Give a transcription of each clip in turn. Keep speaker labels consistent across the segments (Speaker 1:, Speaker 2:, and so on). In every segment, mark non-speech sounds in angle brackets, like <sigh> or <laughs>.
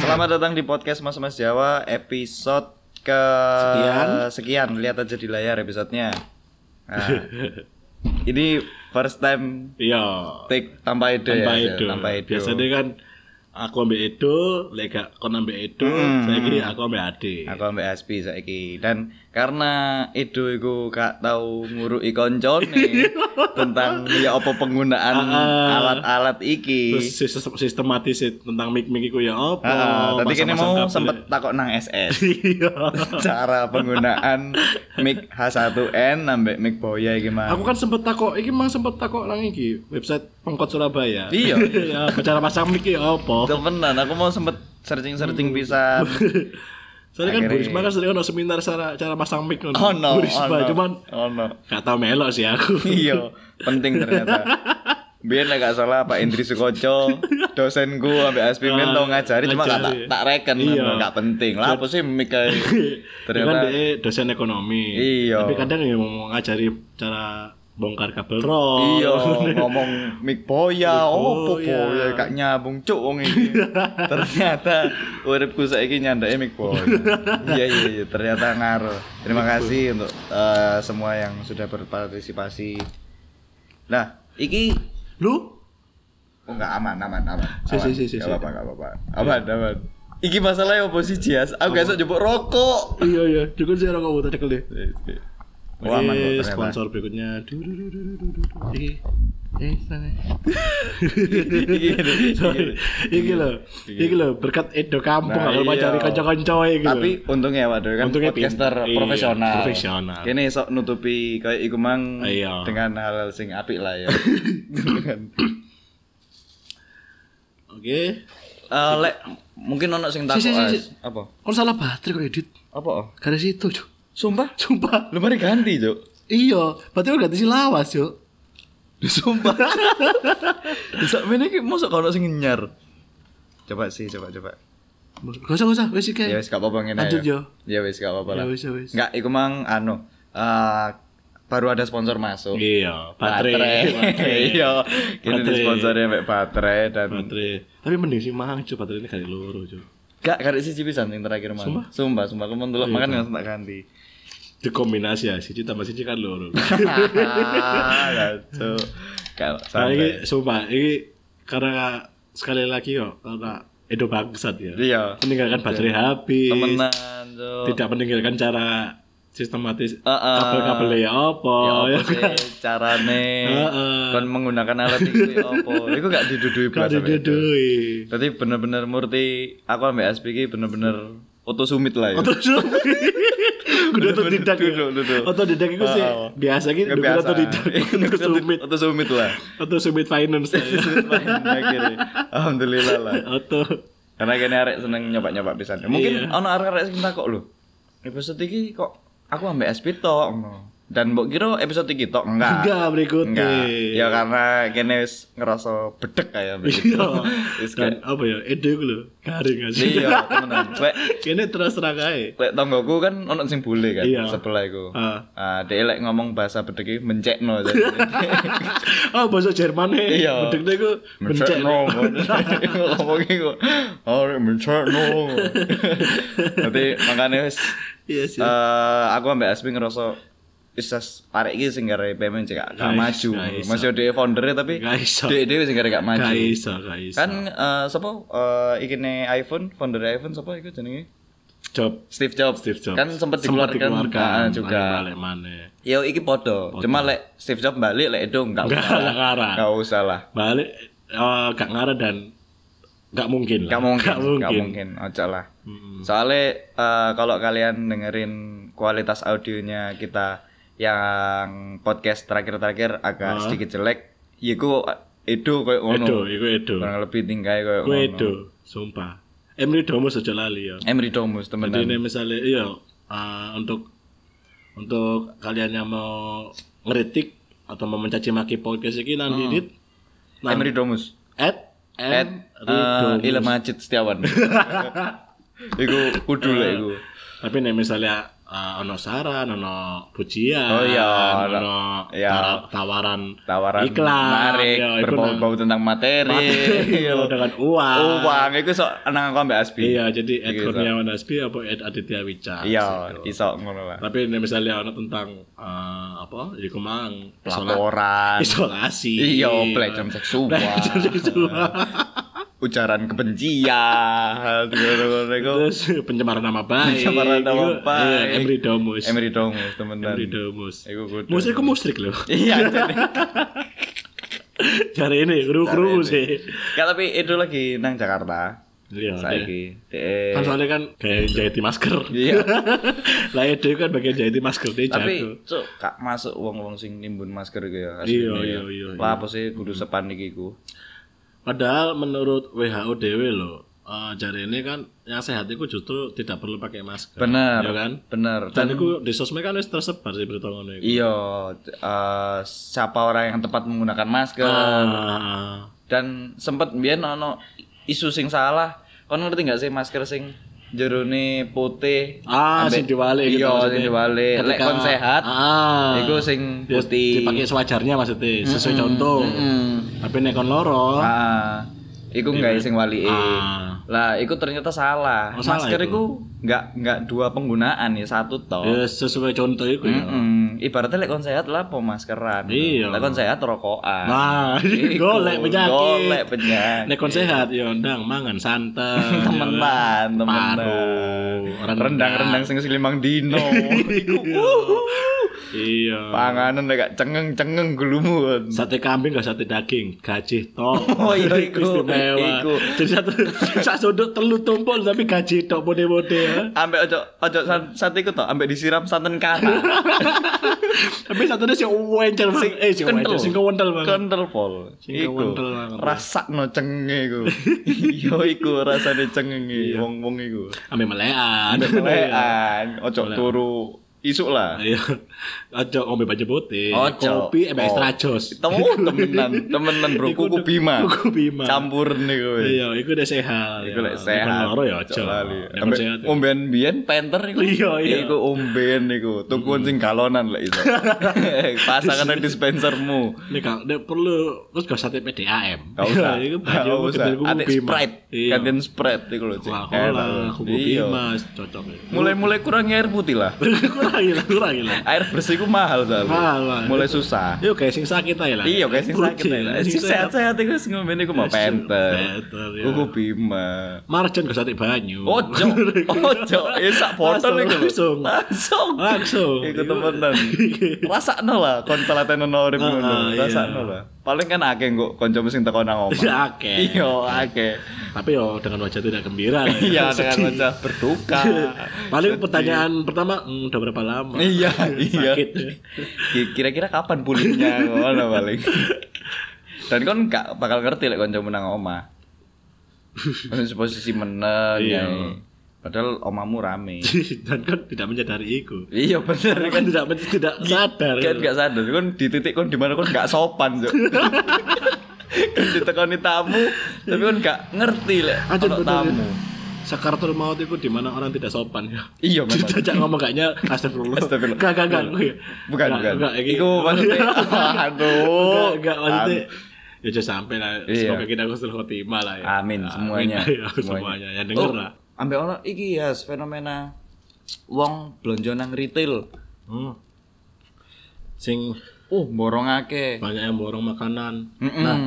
Speaker 1: Selamat datang di podcast Mas Mas Jawa episode ke
Speaker 2: Sekian.
Speaker 1: sekian. Lihat aja di layar episodenya.
Speaker 2: <laughs>
Speaker 1: Nah, ini first time
Speaker 2: Iya.
Speaker 1: take tanpa ide
Speaker 2: Tanpa
Speaker 1: ya,
Speaker 2: edo.
Speaker 1: tanpa ide.
Speaker 2: Biasanya kan aku ambil edo, lega kon ambil edo, saya kira aku ambil ade.
Speaker 1: Hmm. Aku ambek Aspi saiki dan karena Edo iku gak tau nguruki
Speaker 2: <laughs>
Speaker 1: koncone tentang ya apa penggunaan
Speaker 2: Iya. Ah.
Speaker 1: alat-alat iki.
Speaker 2: Terus sistem- sistematis tentang mic-mic iku ya apa?
Speaker 1: Ah, tadi kene
Speaker 2: pasang-pasang
Speaker 1: mau
Speaker 2: kabel.
Speaker 1: sempet takok nang SS.
Speaker 2: Iya.
Speaker 1: Cara penggunaan mic H1n ambek mic Boya iki mah.
Speaker 2: Aku kan sempet takok, iki mah sempet takok nang iki website Pengkot Surabaya. <laughs>
Speaker 1: Iya.
Speaker 2: Ya, Cara pasang mic ya apa?
Speaker 1: Oh. Temenan, aku mau sempet
Speaker 2: Hmm.
Speaker 1: searching-searching pisan.
Speaker 2: <laughs> Soalnya kan
Speaker 1: Akhirnya-
Speaker 2: Burisma kan sering ono seminar cara cara pasang mic ngono.
Speaker 1: Oh no, oh
Speaker 2: Burisma
Speaker 1: no.
Speaker 2: cuman
Speaker 1: oh no.
Speaker 2: gak tau melok sih aku.
Speaker 1: Iya, penting ternyata. Biar lah gak salah Pak Indri Sukoco, dosen gua ambek Aspimin tau ngajari cuma gak tak,
Speaker 2: Ah, ngajari.
Speaker 1: tak reken,
Speaker 2: Iya.
Speaker 1: gak penting. Lah apa sih mik kayak
Speaker 2: kan
Speaker 1: ternyata
Speaker 2: dia dosen ekonomi.
Speaker 1: Iya.
Speaker 2: Tapi kadang ya mau ngajari cara bongkar kabel rod.
Speaker 1: Iya, ngomong mic boya, opo
Speaker 2: boya.
Speaker 1: boya gak nyambung cuk wong
Speaker 2: <laughs>
Speaker 1: iki. ternyata uripku saiki nyandake mic boya. iya iya iya, ternyata ngaruh. Terima kasih untuk eh, semua yang sudah berpartisipasi. Nah, iki
Speaker 2: <laughs> Lu?
Speaker 1: oh enggak aman aman aman.
Speaker 2: Si,
Speaker 1: aman.
Speaker 2: si, si, si,
Speaker 1: Nggak
Speaker 2: si.
Speaker 1: apa-apa nggak apa-apa. Aman aman. Iki masalahnya opo sih Jias? Aku gak iso njupuk rokok.
Speaker 2: Iya iya, cukup sih orang kamu tekel deh.
Speaker 1: Oh, aman kok
Speaker 2: Oke,
Speaker 1: ternyata. <laughs>
Speaker 2: sponsor berikutnya. Dududududududu. Iki. Eh,
Speaker 1: <laughs>
Speaker 2: sana.
Speaker 1: Iki- iki-
Speaker 2: Sorry. Iki lho. Iki lho berkat Edo kampung
Speaker 1: Iya, Nah,
Speaker 2: kalau
Speaker 1: iya.
Speaker 2: cari kanca-kanca iki. lho.
Speaker 1: Tapi untungnya Pak Doi kan
Speaker 2: gitu. Untungnya
Speaker 1: podcaster
Speaker 2: pinter. Iya,
Speaker 1: profesional.
Speaker 2: profesional.
Speaker 1: Kene sok nutupi kayak iku mang
Speaker 2: Iya.
Speaker 1: dengan hal sing apik lah
Speaker 2: <laughs>
Speaker 1: ya.
Speaker 2: oke.
Speaker 1: Eh, lek mungkin ono sing takut
Speaker 2: Si, si, si, si.
Speaker 1: apa?
Speaker 2: Kon salah baterai kok edit.
Speaker 1: Apa? oh?
Speaker 2: Garis itu, Cuk.
Speaker 1: Sumpah?
Speaker 2: Sumpah.
Speaker 1: Lu mari ganti, Cuk.
Speaker 2: Iya, berarti udah ganti si lawas, Cuk.
Speaker 1: Sumpah.
Speaker 2: <laughs>
Speaker 1: Sak mene iki mosok gak ono sing nyar. Coba sih, coba coba.
Speaker 2: Gak usah, gak usah, wes iki.
Speaker 1: Ya wis gak apa-apa ngene.
Speaker 2: Eh, Lanjut,
Speaker 1: ya.
Speaker 2: yo.
Speaker 1: Ya wis gak apa-apa lah.
Speaker 2: Ya wis, ya wis.
Speaker 1: Enggak, iku mang anu eh, baru ada sponsor masuk.
Speaker 2: Iya, <laughs>
Speaker 1: baterai. Iya, kita
Speaker 2: Baterai.
Speaker 1: disponsori sampai baterai dan
Speaker 2: baterai. Tapi mending sih mahal cuy baterai ini kali loro cuy.
Speaker 1: gak karek siji pisan yang terakhir mah. Sumpah, sumpah, sumpah aku mendelok
Speaker 2: Oh, iya,
Speaker 1: makan langsung tak ganti.
Speaker 2: <laughs> Dikombinasi ya, siji tambah siji kan
Speaker 1: <laughs>
Speaker 2: loro.
Speaker 1: Hahaha, Kalau
Speaker 2: Nah,
Speaker 1: santai.
Speaker 2: ini sumpah, ini karena sekali lagi kok karena Edo bangsat ya.
Speaker 1: Iya.
Speaker 2: Meninggalkan baterai habis.
Speaker 1: Temenan, Cuk.
Speaker 2: Tidak meninggalkan cara sistematis
Speaker 1: Heeh.
Speaker 2: kabel-kabelnya apa
Speaker 1: Ya
Speaker 2: ya.
Speaker 1: apa sih carane
Speaker 2: Heeh.
Speaker 1: kon menggunakan alat
Speaker 2: <laughs>
Speaker 1: itu ya apa? Iku gak didudui
Speaker 2: Gak
Speaker 1: belas sampai itu.
Speaker 2: didudui.
Speaker 1: Berarti bener-bener murti aku ambek SP ki bener-bener oto sumit lah ya.
Speaker 2: Terus Kudu otodidak ya.
Speaker 1: Duduk, duduk. Ah,
Speaker 2: Otodidak itu sih
Speaker 1: Heeh.
Speaker 2: biasa gitu.
Speaker 1: Kebiasaan. <laughs>
Speaker 2: Otodidak.
Speaker 1: Iya,
Speaker 2: Kudu sumit.
Speaker 1: Oto sumit
Speaker 2: <laughs>
Speaker 1: lah.
Speaker 2: Auto Summit Finance
Speaker 1: Iya.
Speaker 2: ya.
Speaker 1: Akhirnya. Alhamdulillah lah.
Speaker 2: Auto
Speaker 1: Karena kene arek seneng nyoba-nyoba pisan.
Speaker 2: Iya.
Speaker 1: Mungkin ono arek-arek sing takok lho. Episode iki kok aku ambek SP tok ngono. Dan mbok kira episode iki tok enggak.
Speaker 2: enggak berikutnya.
Speaker 1: Ah. Enggak. Ya karena kene wis ngerasa bedek kayak ambek itu.
Speaker 2: <laughs> Iya.
Speaker 1: Wis
Speaker 2: Dan
Speaker 1: kayak
Speaker 2: apa ya? Edo iku lho, garing gak sih? <laughs>
Speaker 1: iya temenan. Lek
Speaker 2: Kene terus terang ae.
Speaker 1: lek tonggoku kan ono sing bule kan
Speaker 2: Iya.
Speaker 1: sebelah iku.
Speaker 2: Ah.
Speaker 1: Ah, dia lek ngomong bahasa bedek iki mencekno.
Speaker 2: <laughs>
Speaker 1: jadi.
Speaker 2: Oh, bahasa Jerman e.
Speaker 1: Iya.
Speaker 2: Bedekne iku bencek.
Speaker 1: Mencekno. <laughs> Ngomong iku. Arek mencekno. Nanti makane wis
Speaker 2: <laughs> Iya sih.
Speaker 1: Eh, aku ambek Asmi ngerasa isas arek iki sing gara PMN cek gak- gak
Speaker 2: Guys,
Speaker 1: maju.
Speaker 2: gak iso.
Speaker 1: Masih ada foundernya tapi
Speaker 2: Gak iso.
Speaker 1: dhek dhewe sing gara gak maju.
Speaker 2: Gak iso, gak iso.
Speaker 1: Kan eh sapa eh ikine iPhone, founder iPhone sapa iku jenenge?
Speaker 2: job
Speaker 1: Steve Jobs.
Speaker 2: Steve Jobs.
Speaker 1: Kan sempat
Speaker 2: Sempet
Speaker 1: dikeluarkan, ah, juga.
Speaker 2: Balik mana?
Speaker 1: Yo iki podo. Cuma lek Steve Jobs balik lek dong gak
Speaker 2: Gak
Speaker 1: usah.
Speaker 2: ngarah.
Speaker 1: Gak usah lah.
Speaker 2: Balik eh, gak ngarah dan gak mungkin lah.
Speaker 1: Gak mungkin,
Speaker 2: Gak
Speaker 1: gak
Speaker 2: mungkin. Hmm.
Speaker 1: mungkin. Ojo lah. Hmm. Soalnya eh, kalau kalian dengerin kualitas audionya kita yang podcast terakhir-terakhir agak sedikit jelek, ya ku itu kayak ngono.
Speaker 2: Edo, iku Edo.
Speaker 1: Kurang lebih tingkai kayak
Speaker 2: Iku
Speaker 1: ngono.
Speaker 2: Edo, sumpah. Eh, Emri Domus aja lali ya.
Speaker 1: Emri Domus
Speaker 2: Jadi
Speaker 1: temenan.
Speaker 2: ini misalnya iya eh, untuk untuk kalian yang mau ngeritik atau mau mencaci maki podcast ini nang didit nah,
Speaker 1: Emri Domus.
Speaker 2: at
Speaker 1: Hmm. At
Speaker 2: at
Speaker 1: eh,
Speaker 2: <laughs>
Speaker 1: Ilham Majid Setiawan. iku kudu lah iku.
Speaker 2: tapi nih misalnya eh, ono saran, ono pujian,
Speaker 1: Oh, iya,
Speaker 2: ono,
Speaker 1: ono- iya.
Speaker 2: tara- tawaran,
Speaker 1: tawaran
Speaker 2: iklan,
Speaker 1: menarik
Speaker 2: ya, iku nang-
Speaker 1: berbau-bau tentang <laughs> materi
Speaker 2: Iya, dengan uang.
Speaker 1: uang itu sok nang aku ambek asbi
Speaker 2: Iya, jadi Ed
Speaker 1: Gitu.
Speaker 2: Kurniawan Hasbi apa Ed Aditya Wicca.
Speaker 1: iya
Speaker 2: gitu.
Speaker 1: iso ngono lah
Speaker 2: Tapi ini misalnya ono tentang eh, apa? Jadi kemang
Speaker 1: laporan
Speaker 2: isolasi.
Speaker 1: iya pelecehan seksual Iya.
Speaker 2: Pelecehan
Speaker 1: <laughs>
Speaker 2: seksual.
Speaker 1: ujaran
Speaker 2: <laughs>
Speaker 1: kebencian ngono-ngono iku.
Speaker 2: Terus pencemaran nama baik.
Speaker 1: Pencemaran nama
Speaker 2: Iku,
Speaker 1: baik.
Speaker 2: eh, Emri Domus.
Speaker 1: Emery Domus temenan
Speaker 2: Emri Domus.
Speaker 1: Iku kudu.
Speaker 2: Musik ku musrik loh.
Speaker 1: iya jadi.
Speaker 2: <laughs> Cari ini kru-kru
Speaker 1: Cari
Speaker 2: sih.
Speaker 1: Nggak, tapi itu lagi nang Jakarta
Speaker 2: Iya. deh.
Speaker 1: saiki DE.
Speaker 2: Kan soalnya kan kayak jahiti masker.
Speaker 1: iya
Speaker 2: <laughs> Lah ya dia kan bagian jahiti masker dia jago.
Speaker 1: tapi cuk kak masuk wong-wong sing nimbun masker gitu ya
Speaker 2: Iya, iya, iya, iya.
Speaker 1: lah apa sih kudu sepanik iku
Speaker 2: Padahal menurut WHO dewe loh, eh jari ini kan yang sehat itu justru tidak perlu pakai masker.
Speaker 1: bener
Speaker 2: Ya kan?
Speaker 1: bener
Speaker 2: Dan itu di sosmed kan wis tersebar sih berita ngono itu.
Speaker 1: iya eh, siapa orang yang tepat menggunakan masker
Speaker 2: Ah,
Speaker 1: dan sempet biyen ono isu sing salah kon ngerti nggak sih masker sing jerone putih
Speaker 2: ah
Speaker 1: Ambek-
Speaker 2: sing diwale gitu
Speaker 1: iya
Speaker 2: maksudnya.
Speaker 1: sing diwale lek
Speaker 2: Ketika-
Speaker 1: kon sehat
Speaker 2: ah,
Speaker 1: iku sing
Speaker 2: dia
Speaker 1: putih
Speaker 2: dipakai sewajarnya maksudnya, sesuai contoh.
Speaker 1: Mm.
Speaker 2: Tapi nek kon loro,
Speaker 1: Ah, iku nggak sing wali
Speaker 2: Iya, Ah.
Speaker 1: Lah, iku ternyata salah.
Speaker 2: Oh, salah
Speaker 1: Masker
Speaker 2: itu.
Speaker 1: iku nggak nggak dua penggunaan ya, satu toh.
Speaker 2: ya sesuai contoh itu ya.
Speaker 1: Mm-mm. Ibaratnya lek kon sehat lah po maskeran.
Speaker 2: Iya.
Speaker 1: Lek kon sehat rokokan.
Speaker 2: Nah, <laughs>
Speaker 1: Iku,
Speaker 2: golek penyakit.
Speaker 1: Golek penyakit.
Speaker 2: Nek kon sehat ya ndang mangan
Speaker 1: <laughs>
Speaker 2: santan. ya kan?
Speaker 1: temenan, temenan.
Speaker 2: Paru,
Speaker 1: Rendang-rendang sing silimang
Speaker 2: <laughs>
Speaker 1: dino. iku
Speaker 2: Iya.
Speaker 1: panganan lek gak cengeng-cengeng gulumun.
Speaker 2: Sate kambing gak sate daging, gaji tok.
Speaker 1: <laughs> Oh, iya, iku.
Speaker 2: istimewa.
Speaker 1: Iku.
Speaker 2: Jadi satu <laughs> sak sudut telu tumpul tapi gaji tok bode-bode ya.
Speaker 1: Ambek ojo ojo san- sate iku toh, ambek disiram santen kara.
Speaker 2: <laughs> Tapi satunya si wencer sing eh si wencer sing kewentel banget.
Speaker 1: kental pol
Speaker 2: Sing
Speaker 1: iku
Speaker 2: kewentel banget.
Speaker 1: rasakno cengenge
Speaker 2: <laughs>
Speaker 1: iku yo iku rasane
Speaker 2: Iya.
Speaker 1: cengenge wong-wong iku
Speaker 2: Ambil melean. <laughs>
Speaker 1: lean ojo turu isuk lah
Speaker 2: Ayo. Iya. Ojo ngombe baju putih,
Speaker 1: Ojo.
Speaker 2: Iya, kopi eh
Speaker 1: Oh.
Speaker 2: extra jos.
Speaker 1: temu temenan temenan bro
Speaker 2: Iku
Speaker 1: kuku
Speaker 2: udah-
Speaker 1: bima
Speaker 2: kuku Bima.
Speaker 1: campuran iku weh.
Speaker 2: Iya, iku udah sehat.
Speaker 1: iku lek
Speaker 2: Nek
Speaker 1: sehat
Speaker 2: loro ya
Speaker 1: ojo
Speaker 2: ojo.
Speaker 1: lali
Speaker 2: Nek
Speaker 1: Ambek
Speaker 2: sehat. ya.
Speaker 1: omben biyen penter iku
Speaker 2: Iya, iya.
Speaker 1: iku omben iku tukuan sing galonan lek
Speaker 2: <laughs>
Speaker 1: iso pasangan nang dispensermu
Speaker 2: Nek gak nek perlu terus gak sate PDAM.
Speaker 1: Gak usah.
Speaker 2: Iya, <laughs> Iku
Speaker 1: Gak
Speaker 2: baju
Speaker 1: usah.
Speaker 2: kuku
Speaker 1: Ate
Speaker 2: Bima.
Speaker 1: Sprite.
Speaker 2: Iya.
Speaker 1: Kantin Sprite iku lho, Cik.
Speaker 2: Coca-Cola,
Speaker 1: Enak.
Speaker 2: kuku
Speaker 1: Iya.
Speaker 2: Bima cocok. ya.
Speaker 1: Mulai-mulai kurang air putih lah.
Speaker 2: kurang lah, kurang lah.
Speaker 1: Air bersih ku mahal soalnya.
Speaker 2: Mahal, mahal.
Speaker 1: Mulai susah.
Speaker 2: Yuk guys, sing sakit aja lah.
Speaker 1: Iya, kayak sing sakit
Speaker 2: Kucing,
Speaker 1: lah.
Speaker 2: sing
Speaker 1: Sing sehat-sehat iku sing ngombe iku mau penter.
Speaker 2: Penter, ya.
Speaker 1: Kuku Bima.
Speaker 2: Marjan gak sate banyu. <laughs>
Speaker 1: <laughs> Ojo, ojo, ya sak botol iku.
Speaker 2: Langsung,
Speaker 1: lho. Langsung.
Speaker 2: Langsung.
Speaker 1: Iku
Speaker 2: <laughs>
Speaker 1: temenan. Rasakno lah kon telateno urip
Speaker 2: Ah,
Speaker 1: ngono.
Speaker 2: iya.
Speaker 1: Rasakno lah. Paling kan akeh kok kanca sing teko nang omah.
Speaker 2: Ya <laughs> akeh.
Speaker 1: Iya,
Speaker 2: <laughs>
Speaker 1: akeh.
Speaker 2: Tapi yo dengan wajah tidak gembira. lah, ya.
Speaker 1: Iya dengan
Speaker 2: Sedih.
Speaker 1: wajah
Speaker 2: <laughs>
Speaker 1: berduka.
Speaker 2: Paling pertanyaan pertama, "Hmm, udah berapa lama?
Speaker 1: iya, iya.
Speaker 2: Sakit.
Speaker 1: Ki- Kira-kira kapan
Speaker 2: <laughs>
Speaker 1: pulihnya ngono paling. Dan kon gak bakal ngerti lek kancamu nang
Speaker 2: <laughs>
Speaker 1: omah. Wis posisi meneng
Speaker 2: Iya.
Speaker 1: ya. Padahal omamu rame.
Speaker 2: <laughs> Dan kan tidak menyadari itu.
Speaker 1: iya bener
Speaker 2: Karena kan tidak tidak sadar.
Speaker 1: kan gak sadar kon di titik kon di mana kon gak sopan
Speaker 2: <laughs>
Speaker 1: Cuk. Kon ditekoni tamu tapi kon gak ngerti lek
Speaker 2: Aja
Speaker 1: ono
Speaker 2: bener.
Speaker 1: tamu.
Speaker 2: Sakaratul maut itu di mana orang tidak sopan ya.
Speaker 1: Iya memang.
Speaker 2: Jajak ngomong kayaknya astagfirullah.
Speaker 1: Astagfirullah.
Speaker 2: Gak, gak, gak.
Speaker 1: Bukan,
Speaker 2: Gak,
Speaker 1: bukan.
Speaker 2: gak, iki.
Speaker 1: Iku
Speaker 2: <laughs>
Speaker 1: maksudnya, aduh.
Speaker 2: Gak, gak, maksudnya. Ya udah sampai lah.
Speaker 1: Iya.
Speaker 2: Semoga kita husnul khotimah lah ya.
Speaker 1: Amin semuanya.
Speaker 2: Amin, ya, semuanya. Yang denger lah.
Speaker 1: Oh, ambek ono iki ya fenomena wong blonjo nang retail.
Speaker 2: Hmm. Sing
Speaker 1: Uh, borongake.
Speaker 2: banyak yang borong makanan.
Speaker 1: Heeh.
Speaker 2: Nah,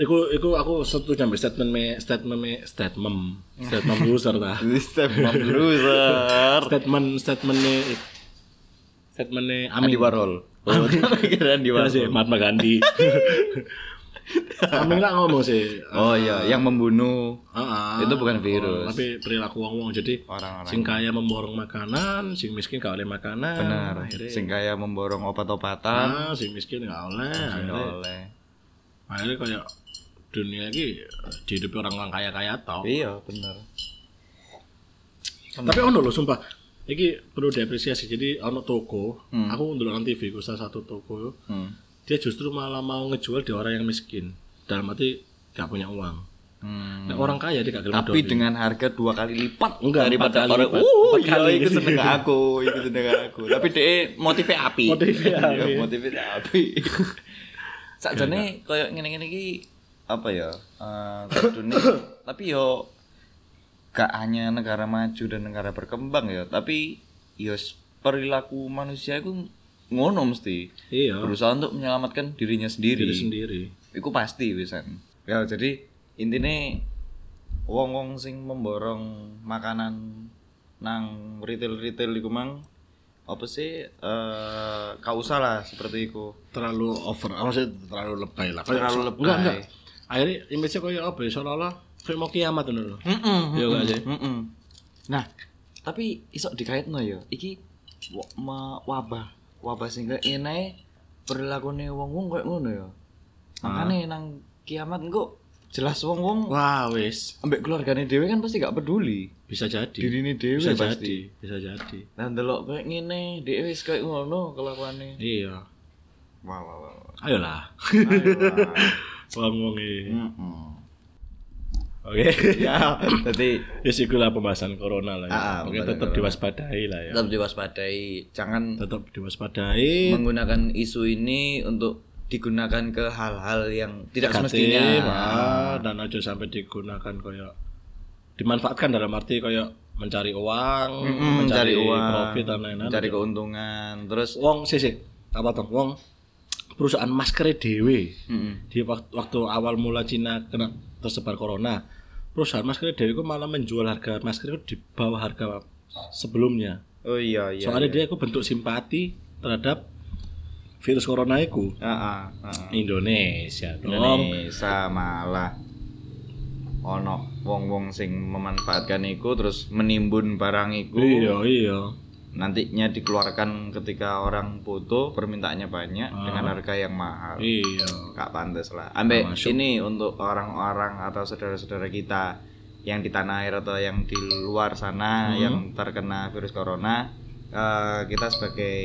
Speaker 2: Iku, iku aku setuju ambil statement me, statement me, statement, statement user lah.
Speaker 1: Sistem <laughs> loser.
Speaker 2: statement statementnya statementnya Amin
Speaker 1: Andi Warhol. Oh, pikiran di
Speaker 2: Ya
Speaker 1: Warhol.
Speaker 2: sih Mahatma <laughs> Gandhi Amin lah ngomong sih
Speaker 1: Oh iya, yang membunuh
Speaker 2: Ah, ah.
Speaker 1: Itu bukan virus.
Speaker 2: Oh, tapi perilaku wong wong jadi
Speaker 1: Orang-orang.
Speaker 2: sing kaya memborong makanan sing miskin gak oleh makanan
Speaker 1: benar.
Speaker 2: akhirnya ya.
Speaker 1: Sing kaya memborong obat-obatan
Speaker 2: ah, sing miskin gak oleh
Speaker 1: nggak
Speaker 2: akhirnya, ya.
Speaker 1: oleh.
Speaker 2: akhirnya kayak dunia ini eh, dihidupi orang-orang kaya-kaya tau
Speaker 1: Iya, benar.
Speaker 2: tapi ono loh sumpah ini perlu diapresiasi jadi ono toko aku dulu nonton TV ku salah satu toko
Speaker 1: Hmm.
Speaker 2: dia justru malah mau ngejual di orang yang miskin dalam arti gak punya uang
Speaker 1: Hmm.
Speaker 2: Nek orang kaya dia gak gelem
Speaker 1: Tapi
Speaker 2: doi.
Speaker 1: dengan harga dua kali lipat
Speaker 2: Enggak,
Speaker 1: daripada
Speaker 2: empat kali
Speaker 1: orang.
Speaker 2: lipat.
Speaker 1: Uh,
Speaker 2: Empat
Speaker 1: iya,
Speaker 2: kali.
Speaker 1: itu seneng aku, itu seneng aku. Tapi dia motifnya api.
Speaker 2: Motifnya api.
Speaker 1: Iya, motifnya api. <laughs> Sakjane koyo ngene-ngene iki apa ya? Eh kudune tapi yo gak hanya negara maju dan negara berkembang ya, tapi yo s- perilaku manusia itu ngono mesti.
Speaker 2: Iya.
Speaker 1: Berusaha untuk menyelamatkan dirinya
Speaker 2: Diri sendiri.
Speaker 1: Iku pasti wisan. Ya jadi intine wong-wong sing memborong makanan nang retail-retail iku mang apa sih eh kausa lah seperti iku.
Speaker 2: Terlalu over, apa sih terlalu lebay lah. Kayak-
Speaker 1: Terlalu lebay.
Speaker 2: Enggak, enggak. Akhirnya image-nya kayak apa ya? Seolah-olah kayak mau kiamat ngono lho.
Speaker 1: Ya,
Speaker 2: Iya enggak sih?
Speaker 1: Mm-mm. Nah, tapi isok dikaitno ya. Iki wa- ma- wabah, wabah sing enae perilakune wong-wong koyo ngono ya. Makane nang kiamat engko jelas wong-wong
Speaker 2: Wah, wis.
Speaker 1: ambek keluargane dhewe kan pasti gak peduli.
Speaker 2: Bisa jadi.
Speaker 1: Dirine dhewe
Speaker 2: bisa
Speaker 1: pasti.
Speaker 2: jadi, bisa jadi.
Speaker 1: Nah ndelok kayak ngene, dhek wis kayak ngono kelakuane.
Speaker 2: Iya.
Speaker 1: Wah wah wah.
Speaker 2: Ayolah. <laughs> Ngomongin.
Speaker 1: Hmm.
Speaker 2: Oke. <laughs>
Speaker 1: Ya, <laughs> jadi
Speaker 2: Ya sih itulah pembahasan corona lah ya.
Speaker 1: Ah, ah,
Speaker 2: Mungkin
Speaker 1: pembahasan
Speaker 2: tetap diwaspadai lah ya.
Speaker 1: tetap diwaspadai, jangan
Speaker 2: Tetap diwaspadai.
Speaker 1: menggunakan isu ini untuk digunakan ke hal-hal yang tidak
Speaker 2: negatif,
Speaker 1: semestinya.
Speaker 2: ah, dan aja sampai digunakan kayak dimanfaatkan dalam arti kayak mencari uang,
Speaker 1: Mm, mencari uang,
Speaker 2: profit dan lain-lain.
Speaker 1: Cari keuntungan, terus
Speaker 2: Wong sih sih apa tuh? Wong perusahaan masker dewe
Speaker 1: Mm-mm.
Speaker 2: di waktu, waktu awal mula Cina kena tersebar corona perusahaan masker dewe itu malah menjual harga masker itu di bawah harga sebelumnya
Speaker 1: Oh iya iya.
Speaker 2: soalnya dia itu bentuk simpati terhadap virus corona itu
Speaker 1: Heeh, heeh.
Speaker 2: Indonesia dong
Speaker 1: ah, Indonesia malah ono wong-wong sing memanfaatkan iku terus menimbun barang iku.
Speaker 2: iya iya
Speaker 1: nantinya dikeluarkan ketika orang foto permintaannya banyak dengan harga yang mahal
Speaker 2: iya
Speaker 1: gak pantas lah ambe ini untuk orang-orang atau saudara-saudara kita yang di tanah air atau yang di luar sana yang terkena virus corona eh, kita sebagai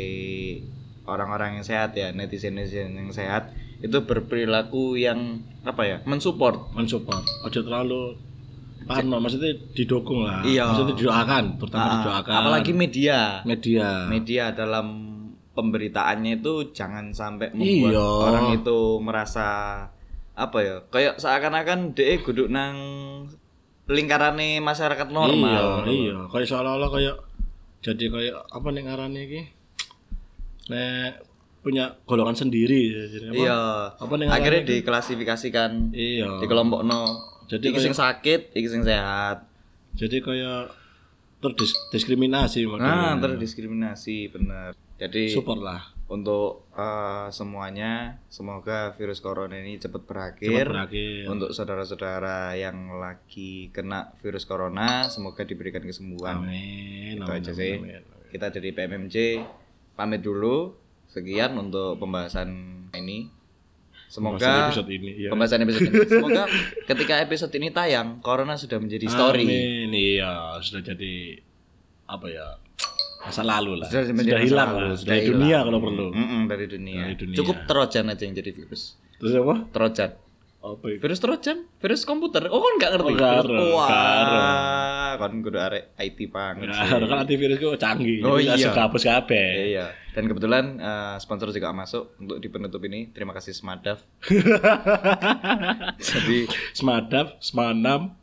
Speaker 1: orang-orang yang sehat ya netizen-netizen yang sehat itu berperilaku yang apa ya mensupport
Speaker 2: mensupport ojo terlalu parno maksudnya didukung lah
Speaker 1: Iya. Ah,
Speaker 2: maksudnya didoakan terutama didoakan
Speaker 1: apalagi media
Speaker 2: media
Speaker 1: media dalam pemberitaannya itu jangan sampai membuat
Speaker 2: Iya.
Speaker 1: orang itu merasa apa ya kayak seakan-akan dia duduk nang lingkarane masyarakat normal
Speaker 2: iya iya kayak seolah-olah kayak jadi kayak apa nih ngarannya iki nek punya golongan sendiri jadi apa
Speaker 1: Iya.
Speaker 2: apa nih ngarannya
Speaker 1: akhirnya diklasifikasikan
Speaker 2: iya
Speaker 1: dikelompokno
Speaker 2: Jadi
Speaker 1: iki sing sakit iki sing sehat
Speaker 2: jadi kayak terdiskriminasi
Speaker 1: nah
Speaker 2: makanya
Speaker 1: terdiskriminasi bener jadi
Speaker 2: support lah
Speaker 1: untuk eh, semuanya semoga virus corona ini cepat
Speaker 2: Cepat
Speaker 1: berakhir
Speaker 2: berakhir
Speaker 1: Untuk saudara-saudara yang lagi kena virus corona, semoga diberikan kesembuhan.
Speaker 2: amin
Speaker 1: Itu
Speaker 2: amin,
Speaker 1: aja
Speaker 2: amin,
Speaker 1: sih.
Speaker 2: amin.
Speaker 1: Kita dari PMMJ pamit dulu. Sekian untuk pembahasan ini.
Speaker 2: Pembahasan
Speaker 1: Semoga
Speaker 2: episode ini ya
Speaker 1: pembahasan episode
Speaker 2: <laughs>
Speaker 1: ini. Semoga ketika episode ini tayang, corona sudah menjadi story.
Speaker 2: Amin, iya sudah jadi apa ya masa lalu lah.
Speaker 1: Sudah
Speaker 2: Sudah,
Speaker 1: menjadi masa
Speaker 2: hilang
Speaker 1: lalu,
Speaker 2: lah,
Speaker 1: sudah
Speaker 2: dari
Speaker 1: hilang. Hmm.
Speaker 2: dunia kalau perlu.
Speaker 1: Mm-mm, dari, dunia.
Speaker 2: Dari dunia.
Speaker 1: Cukup trojan aja yang jadi virus.
Speaker 2: Terus apa?
Speaker 1: Trojan.
Speaker 2: Apa itu?
Speaker 1: Virus trojan, virus komputer. Oh, kan nggak ngerti.
Speaker 2: Oh, nggak ngerti.
Speaker 1: Wah, kan kudu arek IT banget. sih.
Speaker 2: Nah, kan antivirus itu canggih.
Speaker 1: Oh,
Speaker 2: jadi
Speaker 1: iya.
Speaker 2: Langsung hapus kabeh.
Speaker 1: Iya, iya. Dan kebetulan eh, sponsor juga masuk untuk di penutup ini. Terima kasih <laughs> Smadaf. Jadi,
Speaker 2: Semadap, semanam,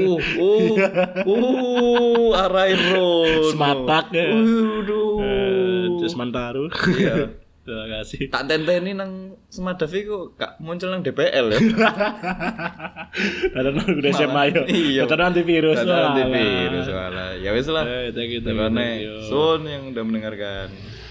Speaker 1: uh, uh, uh, arai rono.
Speaker 2: sematak ya.
Speaker 1: Uh.
Speaker 2: Eh,
Speaker 1: Waduh.
Speaker 2: terus mantaru.
Speaker 1: Iya.
Speaker 2: Terima kasih.
Speaker 1: Tak tenteni nang Smadaf iku gak muncul nang DPL ya.
Speaker 2: Ada nang udah SMA yo.
Speaker 1: Iya.
Speaker 2: Ada antivirus.
Speaker 1: Karena
Speaker 2: Walah.
Speaker 1: antivirus, walah. Ya wes lah.
Speaker 2: Eh, thank you, thank you,
Speaker 1: Terima
Speaker 2: thank you.
Speaker 1: kasih Sun yang udah mendengarkan.